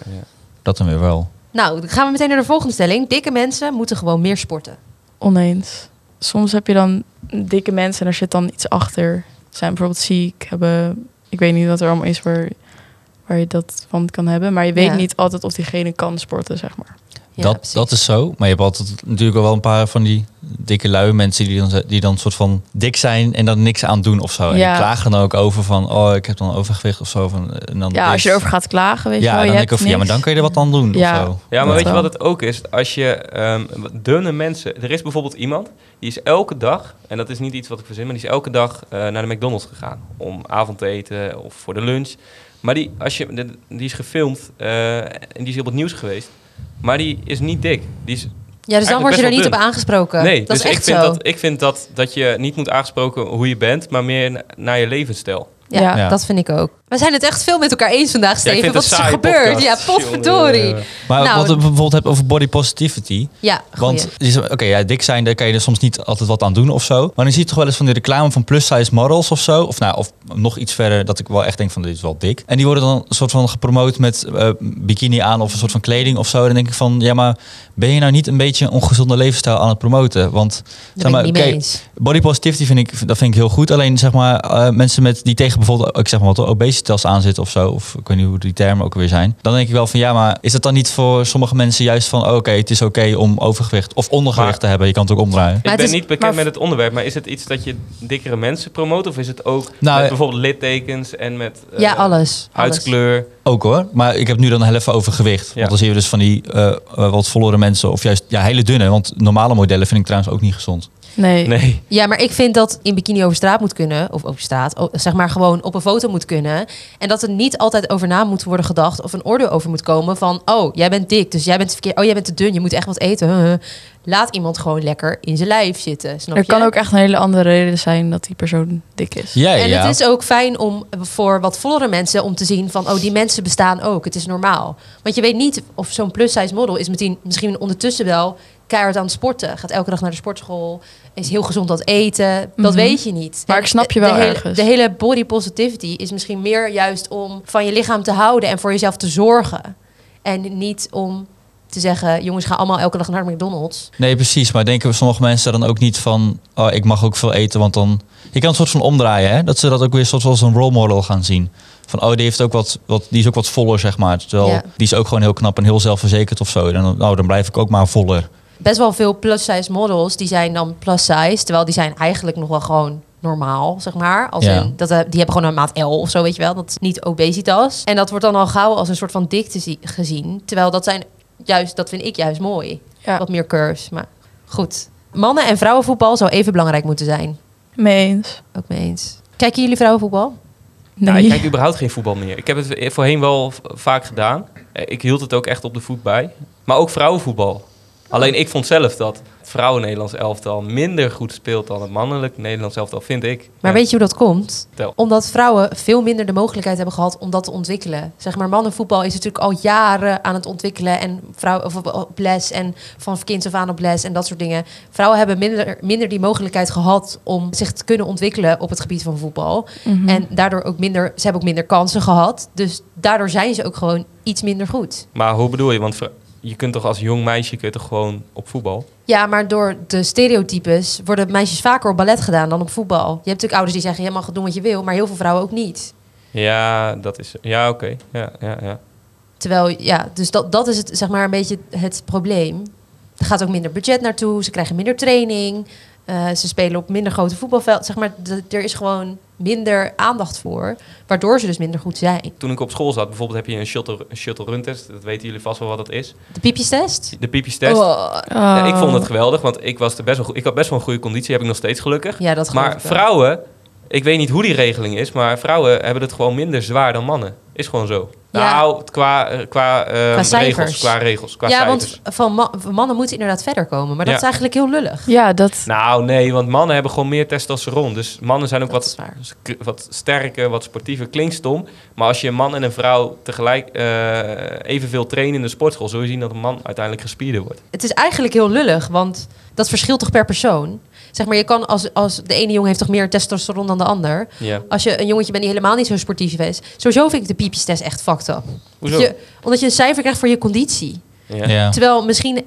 Speaker 4: Dat dan weer wel.
Speaker 1: Nou, dan gaan we meteen naar de volgende stelling. Dikke mensen moeten gewoon meer sporten.
Speaker 2: Oneens. Soms heb je dan dikke mensen en er zit dan iets achter. Zijn bijvoorbeeld ziek, hebben... Ik weet niet wat er allemaal is waar, waar je dat van kan hebben. Maar je weet
Speaker 1: Ja.
Speaker 2: niet altijd of diegene kan sporten, zeg maar.
Speaker 1: Ja,
Speaker 4: dat,
Speaker 1: precies.
Speaker 4: dat is zo. Maar je hebt altijd natuurlijk al wel een paar van die dikke lui mensen die dan, ze- die dan soort van dik zijn en dan niks aan doen of zo. En
Speaker 2: Ja.
Speaker 4: die klagen dan ook over van, oh, ik heb dan overgewicht of zo. Van, eh, en dan
Speaker 2: Ja, als je
Speaker 4: is-
Speaker 2: erover gaat klagen, weet
Speaker 4: Ja,
Speaker 2: je
Speaker 4: en
Speaker 2: wel.
Speaker 4: dan
Speaker 2: je hebt
Speaker 4: denk ik ook van, ja, maar
Speaker 2: niks.
Speaker 4: dan kun je er wat aan doen
Speaker 2: Ja.
Speaker 4: of zo.
Speaker 3: Ja, maar
Speaker 2: Dat
Speaker 3: weet je
Speaker 2: wel.
Speaker 3: wat het ook is? Als je ehm, wat dunne mensen. Er is bijvoorbeeld iemand die is elke dag, en dat is niet iets wat ik verzin, maar die is elke dag eh, naar de McDonald's gegaan om avond te eten of voor de lunch. Maar die, als je, de- die is gefilmd eh, en die is op het nieuws geweest. Maar die is niet dik. Die is,
Speaker 1: Ja, dus dan word
Speaker 3: Eigenlijk
Speaker 1: je
Speaker 3: best
Speaker 1: er
Speaker 3: wel
Speaker 1: niet
Speaker 3: dun.
Speaker 1: op aangesproken.
Speaker 3: nee,
Speaker 1: dat
Speaker 3: dus
Speaker 1: is echt
Speaker 3: ik vind,
Speaker 1: zo.
Speaker 3: dat, ik vind dat, dat je niet moet aangesproken hoe je bent, maar meer na- naar je levensstijl.
Speaker 1: Ja,
Speaker 4: Ja.
Speaker 1: dat vind ik ook. We zijn het echt veel met elkaar eens vandaag,
Speaker 3: Ja, ik
Speaker 1: Steven.
Speaker 3: vind
Speaker 1: Wat
Speaker 3: het
Speaker 1: is er
Speaker 3: een saaie
Speaker 1: gebeurd? Ja,
Speaker 3: podcast.
Speaker 1: potverdorie.
Speaker 3: Jongen.
Speaker 4: Maar
Speaker 1: Nou,
Speaker 4: wat we bijvoorbeeld hebben over body positivity.
Speaker 1: Ja, goeie.
Speaker 4: Want je zegt, oké, ja, dik zijn, daar kan je er soms niet altijd wat aan doen of zo. Maar dan zie je toch wel eens van die reclame van plus size models of zo. Of, nou, of nog iets verder, dat ik wel echt denk van dit is wel dik. En die worden dan een soort van gepromoot met eh, bikini aan of een soort van kleding of zo. Dan denk ik van, ja, maar ben je nou niet een beetje een ongezonde levensstijl aan het promoten? Want
Speaker 1: Daar ben ik niet
Speaker 4: oké,
Speaker 1: mee eens.
Speaker 4: Body positivity vind ik, dat vind ik heel goed. Alleen zeg maar, eh, mensen met, die tegen bijvoorbeeld, ik zeg maar wat, obesitas aanzitten of zo. Of ik weet niet hoe die termen ook weer zijn. Dan denk ik wel van ja, maar is dat dan niet voor sommige mensen juist van oh, oké, het is oké om overgewicht of ondergewicht
Speaker 3: Maar-
Speaker 4: te hebben. Je kan het ook omdraaien.
Speaker 1: Maar
Speaker 3: ik
Speaker 1: het
Speaker 3: ben
Speaker 1: is-
Speaker 2: maar
Speaker 3: niet bekend
Speaker 2: v-
Speaker 3: met het onderwerp, maar is het iets dat je dikkere mensen promoot? Of is het ook
Speaker 4: Nou,
Speaker 3: met
Speaker 4: eh,
Speaker 3: bijvoorbeeld littekens en met eh,
Speaker 1: ja, alles. alles.
Speaker 3: huidskleur?
Speaker 4: Ook hoor. Maar ik heb nu dan heel even overgewicht.
Speaker 3: Ja.
Speaker 4: Want dan zie je dus van die eh, eh, wat vollere mensen of juist ja, hele dunne. Want normale modellen vind ik trouwens ook niet gezond.
Speaker 2: Nee.
Speaker 3: Nee.
Speaker 1: Ja, maar ik vind dat in bikini over straat moet kunnen. Of over straat. o- Zeg maar gewoon op een foto moet kunnen. En dat er niet altijd over na moet worden gedacht. Of een oordeel over moet komen van... Oh, jij bent dik. Dus jij bent verkeerd. Oh, jij bent te dun. Je moet echt wat eten. Huh, huh. Laat iemand gewoon lekker in zijn lijf zitten. Snap
Speaker 2: Er
Speaker 1: je?
Speaker 2: kan ook echt een hele andere reden zijn dat die persoon dik is.
Speaker 4: Jij,
Speaker 1: en
Speaker 4: ja.
Speaker 1: het is ook fijn om voor wat vollere mensen om te zien van, oh, die mensen bestaan ook. Het is normaal. Want je weet niet of zo'n plus-size model is meteen, misschien ondertussen wel keihard aan het sporten. Gaat elke dag naar de sportschool. Is heel gezond aan het eten. Dat
Speaker 2: Mhm.
Speaker 1: weet je niet.
Speaker 2: Maar ik snap je wel
Speaker 1: de, hele-
Speaker 2: ergens.
Speaker 1: De hele body positivity is misschien meer juist om van je lichaam te houden en voor jezelf te zorgen. En niet om te zeggen, jongens, ga allemaal elke dag naar de McDonald's.
Speaker 4: Nee, precies. Maar denken we sommige mensen dan ook niet van... Oh, ik mag ook veel eten, want dan... Je kan een soort van omdraaien, hè? Dat ze dat ook weer soort van als een role model gaan zien. Van, oh, die, heeft ook wat, wat, die is ook wat voller, zeg maar. Terwijl,
Speaker 1: Ja.
Speaker 4: die is ook gewoon heel knap en heel zelfverzekerd of zo. Dan, nou, dan blijf ik ook maar voller.
Speaker 1: best wel veel plus-size models, die zijn dan plus-size. Terwijl die zijn eigenlijk nog wel gewoon normaal, zeg maar. Als
Speaker 4: Ja.
Speaker 1: in, dat, eh, die hebben gewoon een maat L of zo, weet je wel. Dat is niet obesitas. En dat wordt dan al gauw als een soort van dikte zie- gezien. Terwijl dat zijn juist, dat vind ik juist mooi.
Speaker 2: Ja.
Speaker 1: Wat meer curves, maar goed. Mannen- en vrouwenvoetbal zou even belangrijk moeten zijn.
Speaker 2: Mee eens.
Speaker 1: Ook mee eens. Kijken jullie vrouwenvoetbal?
Speaker 2: Nee.
Speaker 3: Nou, ik kijk überhaupt geen voetbal meer. Ik heb het voorheen wel v- vaak gedaan. Eh, Ik hield het ook echt op de voet bij. Maar ook vrouwenvoetbal. Alleen ik vond zelf dat het vrouwen-Nederlands elftal minder goed speelt dan het mannelijk Nederlands elftal, vind ik.
Speaker 1: Maar weet je hoe dat komt?
Speaker 3: Vertel.
Speaker 1: Omdat vrouwen veel minder de mogelijkheid hebben gehad om dat te ontwikkelen. Zeg maar, mannenvoetbal is natuurlijk al jaren aan het ontwikkelen. En vrouwen of op- op les en van kind af aan op les en dat soort dingen. Vrouwen hebben minder, minder die mogelijkheid gehad om zich te kunnen ontwikkelen op het gebied van voetbal. En daardoor ook minder, ze hebben ook minder kansen gehad. Dus daardoor zijn ze ook gewoon iets minder goed.
Speaker 3: Maar hoe bedoel je? Want vrou- je kunt toch als jong meisje kun je toch gewoon op voetbal?
Speaker 1: Ja, maar door de stereotypes worden meisjes vaker op ballet gedaan dan op voetbal. Je hebt natuurlijk ouders die zeggen, je mag doen wat je wil, maar heel veel vrouwen ook niet.
Speaker 3: Ja, dat is. Ja, oké. Ja, ja, ja.
Speaker 1: Terwijl, ja, dus dat, dat is het, zeg maar een beetje het probleem. Er gaat ook minder budget naartoe, ze krijgen minder training, eh, ze spelen op minder grote voetbalveld. Zeg maar, d- er is gewoon minder aandacht voor, waardoor ze dus minder goed zijn.
Speaker 3: Toen ik op school zat, bijvoorbeeld heb je een shuttle, een shuttle run test. Dat weten jullie vast wel wat dat is.
Speaker 1: De piepjestest?
Speaker 3: De piepjes test.
Speaker 1: Oh,
Speaker 3: Ja, ik vond het geweldig, want ik, was er best wel, goed- ik had best wel een goede conditie. Heb ik nog steeds gelukkig.
Speaker 1: ja, dat geloof
Speaker 3: Maar
Speaker 1: ik wel.
Speaker 3: vrouwen, ik weet niet hoe die regeling is, maar vrouwen hebben het gewoon minder zwaar dan mannen. Is gewoon zo.
Speaker 1: Ja.
Speaker 3: Nou, qua, eh, qua, eh,
Speaker 1: cijfers.
Speaker 3: regels, qua regels, qua
Speaker 1: Ja,
Speaker 3: cijfers.
Speaker 1: want van ma- mannen moeten inderdaad verder komen, maar dat
Speaker 3: Ja.
Speaker 1: is eigenlijk heel lullig.
Speaker 2: Ja, dat...
Speaker 3: Nou, nee, want mannen hebben gewoon meer testosteron. Dus mannen zijn ook
Speaker 1: Dat
Speaker 3: wat,
Speaker 1: is waar.
Speaker 3: sk- wat sterker, wat sportiever. Klinkt stom, maar als je een man en een vrouw tegelijk eh, evenveel trainen in de sportschool... zul je zien dat een man uiteindelijk gespierder wordt.
Speaker 1: het is eigenlijk heel lullig, want dat verschilt toch per persoon? Zeg maar, je kan als, als de ene jongen heeft toch meer testosteron dan de ander.
Speaker 3: Ja.
Speaker 1: Als je een jongetje bent die helemaal niet zo sportief is. Sowieso vind ik de piepjestest echt fucked up.
Speaker 3: Hoezo?
Speaker 1: Je, omdat je een cijfer krijgt voor je conditie.
Speaker 3: Ja.
Speaker 4: Ja. Ja.
Speaker 1: Terwijl misschien eh,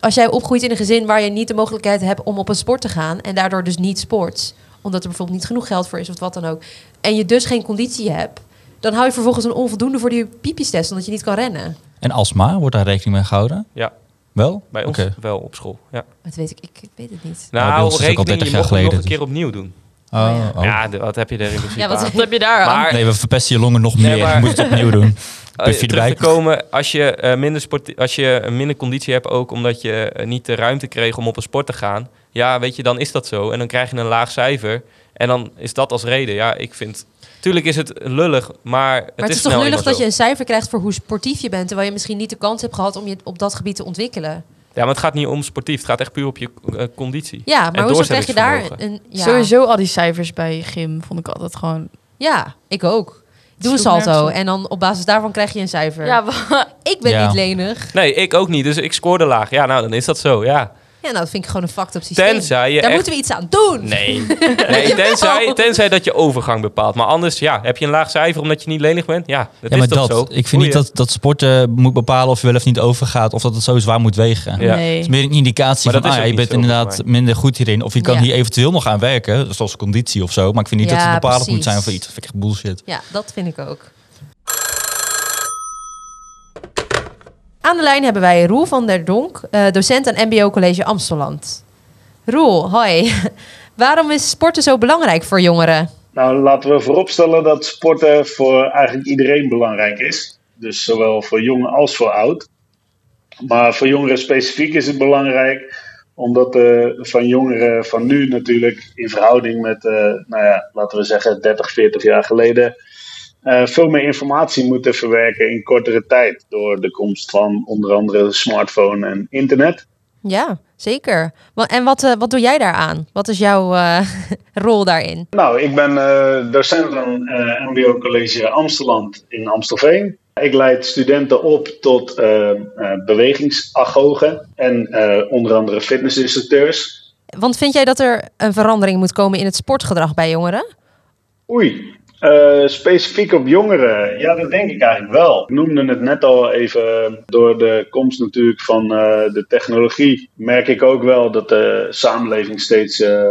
Speaker 1: als jij opgroeit in een gezin waar je niet de mogelijkheid hebt om op een sport te gaan. En daardoor dus niet sport. Omdat er bijvoorbeeld niet genoeg geld voor is of wat dan ook. En je dus geen conditie hebt. Dan hou je vervolgens een onvoldoende voor die piepjestest. Omdat je niet kan rennen.
Speaker 4: En astma, wordt daar rekening mee gehouden?
Speaker 3: Ja.
Speaker 4: Wel?
Speaker 3: Bij ons
Speaker 4: Oké.
Speaker 3: wel op school. Ja.
Speaker 1: Dat weet ik, ik weet het niet.
Speaker 4: bij
Speaker 3: Nou,
Speaker 4: ons is het ook al
Speaker 3: rekening,
Speaker 4: 30
Speaker 3: je mocht het
Speaker 4: jaar
Speaker 3: nog
Speaker 4: geleden,
Speaker 3: een
Speaker 4: dus-
Speaker 3: keer opnieuw doen.
Speaker 4: Oh, oh.
Speaker 3: Ja, de- wat heb je er in principe
Speaker 1: Ja, wat-
Speaker 3: aan?
Speaker 2: Wat heb je daar aan?
Speaker 3: Maar
Speaker 4: Nee, we verpesten je longen nog
Speaker 3: Nee,
Speaker 4: meer.
Speaker 3: maar-
Speaker 4: Je moet het opnieuw doen.
Speaker 3: eh,
Speaker 4: Puffy
Speaker 3: terug te
Speaker 4: erbij.
Speaker 3: komen, als je, eh, minder sport, als je eh, minder conditie hebt ook omdat je eh, niet de ruimte kreeg om op een sport te gaan. Ja, weet je, dan is dat zo. En dan krijg je een laag cijfer. En dan is dat als reden. Ja, ik vind... Tuurlijk is het lullig, maar het
Speaker 1: Maar het is,
Speaker 3: snel
Speaker 1: toch lullig
Speaker 3: eenmaal
Speaker 1: dat
Speaker 3: zo.
Speaker 1: je een cijfer krijgt voor hoe sportief je bent, terwijl je misschien niet de kans hebt gehad om je op dat gebied te ontwikkelen.
Speaker 3: Ja, maar het gaat niet om sportief. Het gaat echt puur op je eh, conditie.
Speaker 1: Ja, maar hoezo krijg je daar
Speaker 3: doorzettingsvermogen.
Speaker 1: een... Ja,
Speaker 2: Sowieso al die cijfers bij gym vond ik altijd gewoon...
Speaker 1: ja ik ook. Doe een
Speaker 2: sloeg nergens
Speaker 1: salto
Speaker 2: op.
Speaker 1: en dan op basis daarvan krijg je een cijfer.
Speaker 2: Ja,
Speaker 1: ik ben
Speaker 4: Ja.
Speaker 1: niet lenig.
Speaker 3: Nee, ik ook niet. Dus ik scoorde laag. Ja, nou, dan is dat zo, ja.
Speaker 1: Ja, nou, dat vind ik gewoon een fucked up systeem.
Speaker 3: Tenzij je
Speaker 1: daar
Speaker 3: echt...
Speaker 1: moeten we iets aan doen.
Speaker 3: Nee. nee
Speaker 1: nou.
Speaker 3: tenzij, tenzij dat je overgang bepaalt. Maar anders, ja, heb je een laag cijfer omdat je niet lenig bent? Ja, dat
Speaker 4: Ja,
Speaker 3: is
Speaker 4: maar
Speaker 3: toch
Speaker 4: dat.
Speaker 3: zo?
Speaker 4: Ik vind
Speaker 3: Boeien.
Speaker 4: niet dat, dat sporten moet bepalen of je wel of niet overgaat. Of dat het zo zwaar moet wegen.
Speaker 3: Ja.
Speaker 4: Het
Speaker 2: Nee.
Speaker 4: is meer een indicatie
Speaker 3: Maar
Speaker 4: van,
Speaker 3: dat is
Speaker 4: ah, ja,
Speaker 3: ook
Speaker 4: je
Speaker 3: niet
Speaker 4: bent
Speaker 3: zo,
Speaker 4: inderdaad
Speaker 3: volgens
Speaker 4: minder goed hierin. Of je kan
Speaker 1: Ja.
Speaker 4: hier eventueel nog aan werken, zoals conditie of zo. Maar ik vind niet dat
Speaker 1: Ja,
Speaker 4: het bepalend moet
Speaker 1: precies.
Speaker 4: zijn voor iets. Dat vind ik echt bullshit.
Speaker 1: Ja, dat vind ik ook. Aan de lijn hebben wij Roel van der Donk, eh, docent aan MBO College Amsteland. Roel, hoi. Waarom is sporten zo belangrijk voor jongeren?
Speaker 8: Nou, laten we vooropstellen dat sporten voor eigenlijk iedereen belangrijk is. Dus zowel voor jong als voor oud. Maar voor jongeren specifiek is het belangrijk, omdat eh, van jongeren van nu natuurlijk in verhouding met, eh, nou ja, laten we zeggen 30, 40 jaar geleden, eh, veel meer informatie moeten verwerken in kortere tijd. Door de komst van onder andere smartphone en internet.
Speaker 1: Ja, zeker. Wa- En wat, eh, wat doe jij daaraan? Wat is jouw eh, rol daarin?
Speaker 8: Nou, ik ben eh, docent aan eh MBO College Amsterdam in Amstelveen. Ik leid studenten op tot eh eh, bewegingsagogen en eh, onder andere fitnessinstructeurs.
Speaker 1: Want vind jij dat er een verandering moet komen in het sportgedrag bij jongeren?
Speaker 8: Oei, eh, specifiek op jongeren. Ja, dat denk ik eigenlijk wel. Ik noemde het net al even eh, door de komst natuurlijk van eh, de technologie. Merk ik ook wel dat de samenleving steeds eh,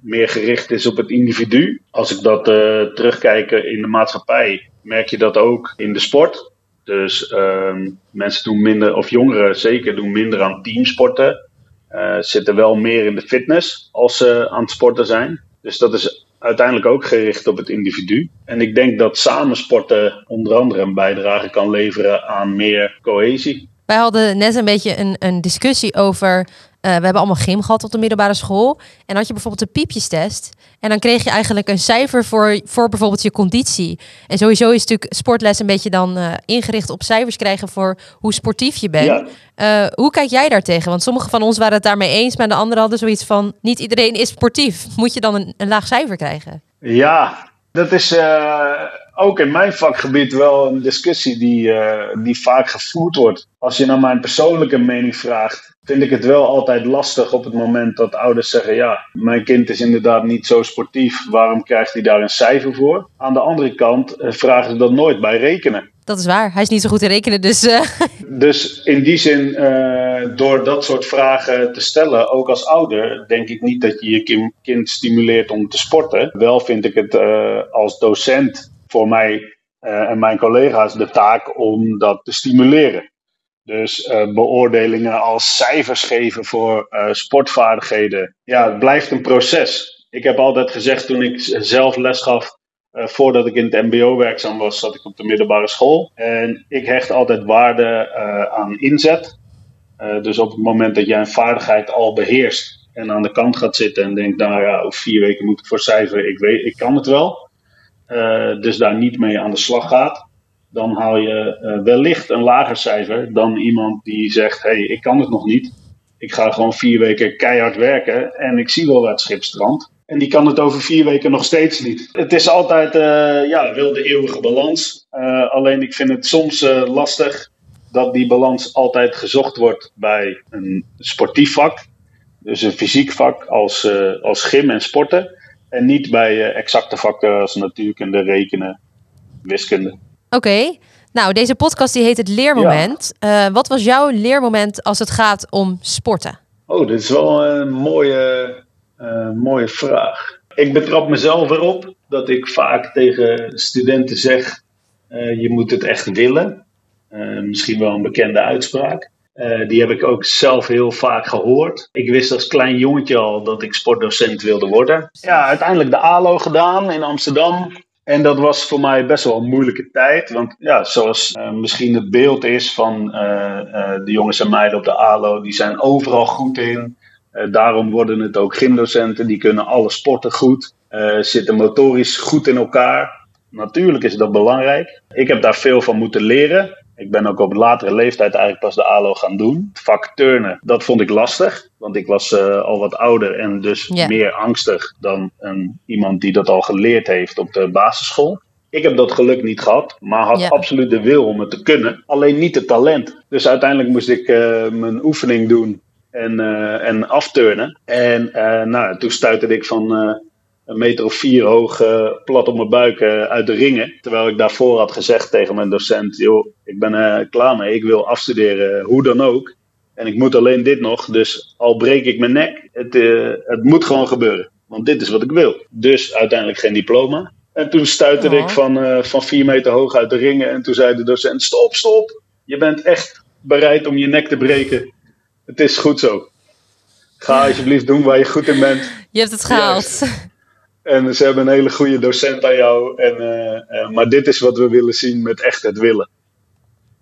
Speaker 8: meer gericht is op het individu. Als ik dat eh, terugkijk in de maatschappij, merk je dat ook in de sport. Dus ehm, mensen doen minder, of jongeren zeker, doen minder aan teamsporten. eh, zitten wel meer in de fitness als ze aan het sporten zijn. Dus dat is uiteindelijk ook gericht op het individu. En ik denk dat samen sporten onder andere een bijdrage kan leveren aan meer cohesie.
Speaker 1: Wij hadden net een beetje een, een discussie over. eh, we hebben allemaal gym gehad op de middelbare school. En had je bijvoorbeeld een piepjestest. En dan kreeg je eigenlijk een cijfer voor, voor bijvoorbeeld je conditie. En sowieso is natuurlijk sportles een beetje dan eh, ingericht op cijfers krijgen voor hoe sportief je bent.
Speaker 8: Ja.
Speaker 1: Eh, hoe kijk jij daartegen? Want sommigen van ons waren het daarmee eens, maar de anderen hadden zoiets van: niet iedereen is sportief. Moet je dan een, een laag cijfer krijgen?
Speaker 8: Ja, dat is eh, ook in mijn vakgebied wel een discussie die, eh, die vaak gevoerd wordt. Als je naar mijn persoonlijke mening vraagt, vind ik het wel altijd lastig op het moment dat ouders zeggen: Ja, mijn kind is inderdaad niet zo sportief, waarom krijgt hij daar een cijfer voor? Aan de andere kant eh, vragen ze dat nooit bij rekenen.
Speaker 1: Dat is waar. Hij is niet zo goed in rekenen. Dus eh,
Speaker 8: Dus in die zin, eh, door dat soort vragen te stellen, ook als ouder, denk ik niet dat je je kim- kind stimuleert om te sporten. Wel vind ik het eh, als docent voor mij eh, en mijn collega's de taak om dat te stimuleren. Dus eh, beoordelingen als cijfers geven voor eh, sportvaardigheden, ja, het blijft een proces. Ik heb altijd gezegd toen ik z- zelf les gaf, eh, voordat ik in het MBO werkzaam was, zat ik op de middelbare school. En ik hecht altijd waarde eh, aan inzet. Eh, dus op het moment dat jij een vaardigheid al beheerst en aan de kant gaat zitten en denkt, nou ja, over vier weken moet ik voor cijfer, ik, weet, ik kan het wel. Eh, dus daar niet mee aan de slag gaat, dan haal je eh, wellicht een lager cijfer dan iemand die zegt, hé, hey, ik kan het nog niet. Ik ga gewoon vier weken keihard werken en ik zie wel wat schipstrand. En die kan het over vier weken nog steeds niet. Het is altijd, eh ja, wil de eeuwige balans. Eh, alleen ik vind het soms eh, lastig dat die balans altijd gezocht wordt bij een sportief vak. Dus een fysiek vak als, eh, als gym en sporten. En niet bij eh, exacte vakken als natuurkunde, rekenen, wiskunde.
Speaker 1: Oké. Nou, deze podcast die heet het leermoment. Eh, wat was jouw leermoment als het gaat om sporten?
Speaker 8: Oh, dit is wel een mooie, eh, mooie vraag. Ik betrap mezelf erop dat ik vaak tegen studenten zeg: eh, je moet het echt willen. Eh, misschien wel een bekende uitspraak. Eh, die heb ik ook zelf heel vaak gehoord. Ik wist als klein jongetje al dat ik sportdocent wilde worden. Ja, uiteindelijk de ALO gedaan in Amsterdam. En dat was voor mij best wel een moeilijke tijd. Want ja, zoals eh, misschien het beeld is van eh, eh, de jongens en meiden op de ALO, die zijn overal goed in. Eh, daarom worden het ook gymdocenten. Die kunnen alle sporten goed. eh, zitten motorisch goed in elkaar. Natuurlijk is dat belangrijk. Ik heb daar veel van moeten leren. Ik ben ook op latere leeftijd eigenlijk pas de ALO gaan doen. Het vak turnen, dat vond ik lastig. Want ik was eh, al wat ouder en dus
Speaker 1: Ja.
Speaker 8: meer angstig dan een, iemand die dat al geleerd heeft op de basisschool. Ik heb dat geluk niet gehad, maar had
Speaker 1: Ja.
Speaker 8: absoluut de wil om het te kunnen. Alleen niet het talent. Dus uiteindelijk moest ik eh, mijn oefening doen en, eh, en afturnen. En eh, nou, toen stuitte ik van eh, een meter of vier hoog eh, plat op mijn buik eh, uit de ringen. Terwijl ik daarvoor had gezegd tegen mijn docent: joh, ik ben er klaar mee, ik wil afstuderen, hoe dan ook. En ik moet alleen dit nog, dus al breek ik mijn nek, het, eh, het moet gewoon gebeuren. Want dit is wat ik wil. Dus uiteindelijk geen diploma. En toen stuitte
Speaker 1: Oh.
Speaker 8: ik van, eh, van vier meter hoog uit de ringen. En toen zei de docent: Stop, stop. Je bent echt bereid om je nek te breken. Het is goed zo. Ga alsjeblieft doen waar je goed in bent.
Speaker 1: Je hebt het gehaald.
Speaker 8: En ze hebben een hele goede docent aan jou. En, eh, eh, maar dit is wat we willen zien met echt het willen.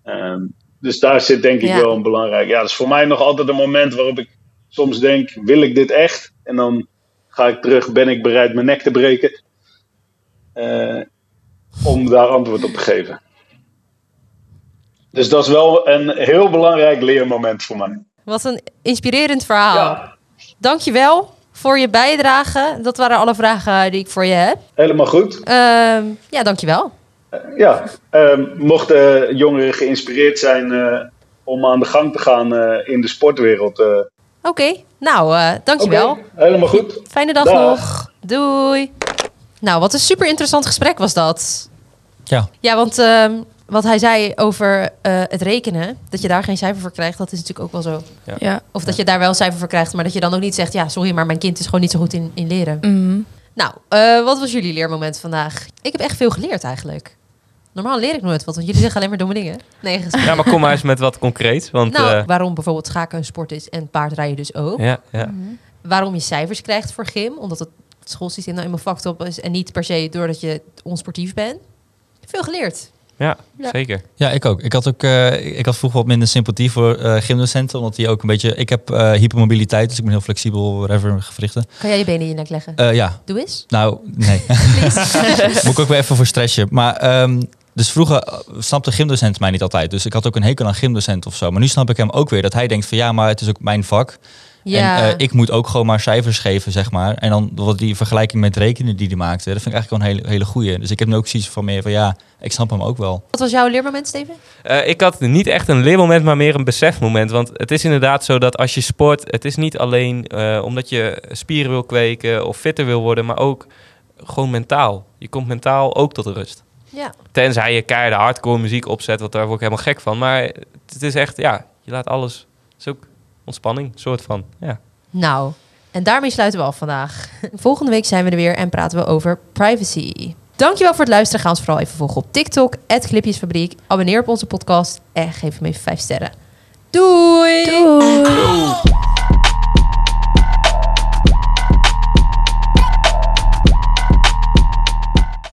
Speaker 8: Ehm, dus daar zit denk ik
Speaker 1: Ja.
Speaker 8: wel een belangrijk. Ja, dat is voor mij nog altijd een moment waarop ik soms denk: wil ik dit echt? En dan ga ik terug, ben ik bereid mijn nek te breken? Eh, om daar antwoord op te geven. Dus dat is wel een heel belangrijk leermoment voor mij.
Speaker 1: Wat een inspirerend verhaal.
Speaker 8: Ja,
Speaker 1: Dankjewel voor je bijdrage. Dat waren alle vragen die ik voor je heb.
Speaker 8: helemaal goed.
Speaker 1: Ehm ja, dankjewel.
Speaker 8: Ja, ehm, mochten jongeren geïnspireerd zijn eh, om aan de gang te gaan eh, in de sportwereld. eh,
Speaker 1: Oké, nou, eh dankjewel.
Speaker 8: oké, helemaal goed.
Speaker 1: Fijne dag,
Speaker 8: Dag.
Speaker 1: nog. Doei. Nou, wat een super interessant gesprek was dat.
Speaker 4: Ja.
Speaker 1: Ja, want ehm, wat hij zei over eh, het rekenen, dat je daar geen cijfer voor krijgt, dat is natuurlijk ook wel zo.
Speaker 2: Ja.
Speaker 1: Of dat je daar wel cijfer voor krijgt, maar dat je dan ook niet zegt... ja, sorry, maar mijn kind is gewoon niet zo goed in, in leren.
Speaker 2: Mhm.
Speaker 1: Nou, eh, wat was jullie leermoment vandaag? Ik heb echt veel geleerd eigenlijk. Normaal leer ik nooit wat, want jullie zeggen alleen maar domme dingen. Nee, gesprek.
Speaker 3: Ja, maar kom maar eens met wat concreets. Want,
Speaker 1: nou,
Speaker 3: eh,
Speaker 1: waarom bijvoorbeeld schaken een sport is en paardrijden dus ook.
Speaker 3: ja, ja.
Speaker 1: Waarom je cijfers krijgt voor gym, omdat het schoolsysteem nou eenmaal fucked op is en niet per se doordat je onsportief bent. Veel geleerd.
Speaker 3: Ja,
Speaker 2: Ja.
Speaker 3: zeker.
Speaker 4: Ja, ik ook. Ik had, ook, eh, ik had vroeger wat minder sympathie voor eh, gymdocenten. Omdat die ook een beetje... Ik heb eh, hypermobiliteit, dus ik ben heel flexibel, whatever, gewrichten.
Speaker 1: Kan jij je benen in je nek leggen?
Speaker 4: Eh, ja,
Speaker 1: Doe eens.
Speaker 4: nou, nee. Moet ik ook weer even voor stretchen. Maar ehm, dus vroeger eh, snapte gymdocent mij niet altijd. Dus ik had ook een hekel aan gymdocent of zo. Maar nu snap ik hem ook weer. Dat hij denkt van ja, maar het is ook mijn vak.
Speaker 1: Ja.
Speaker 4: En eh, ik moet ook gewoon maar cijfers geven, zeg maar. En dan wat die vergelijking met rekenen die hij maakte, dat vind ik eigenlijk wel een hele, hele goeie. Dus ik heb nu ook zoiets van meer van ja, ik snap hem ook wel.
Speaker 1: Wat was jouw leermoment, Steven?
Speaker 3: Eh, ik had niet echt een leermoment, maar meer een besefmoment. Want het is inderdaad zo dat als je sport, het is niet alleen eh, omdat je spieren wil kweken of fitter wil worden, maar ook gewoon mentaal. Je komt mentaal ook tot rust.
Speaker 1: Ja.
Speaker 3: Tenzij je keiharde hardcore muziek opzet, want daar word ik helemaal gek van. Maar het is echt, ja, je laat alles. Het is ook ontspanning, soort van. Ja.
Speaker 1: Nou, en daarmee sluiten we af vandaag. Volgende week zijn we er weer en praten we over privacy. Dankjewel voor het luisteren. Ga ons vooral even volgen op TikTok, Clipjesfabriek. Abonneer op onze podcast en geef hem even 5 sterren. Doei!
Speaker 5: Doei.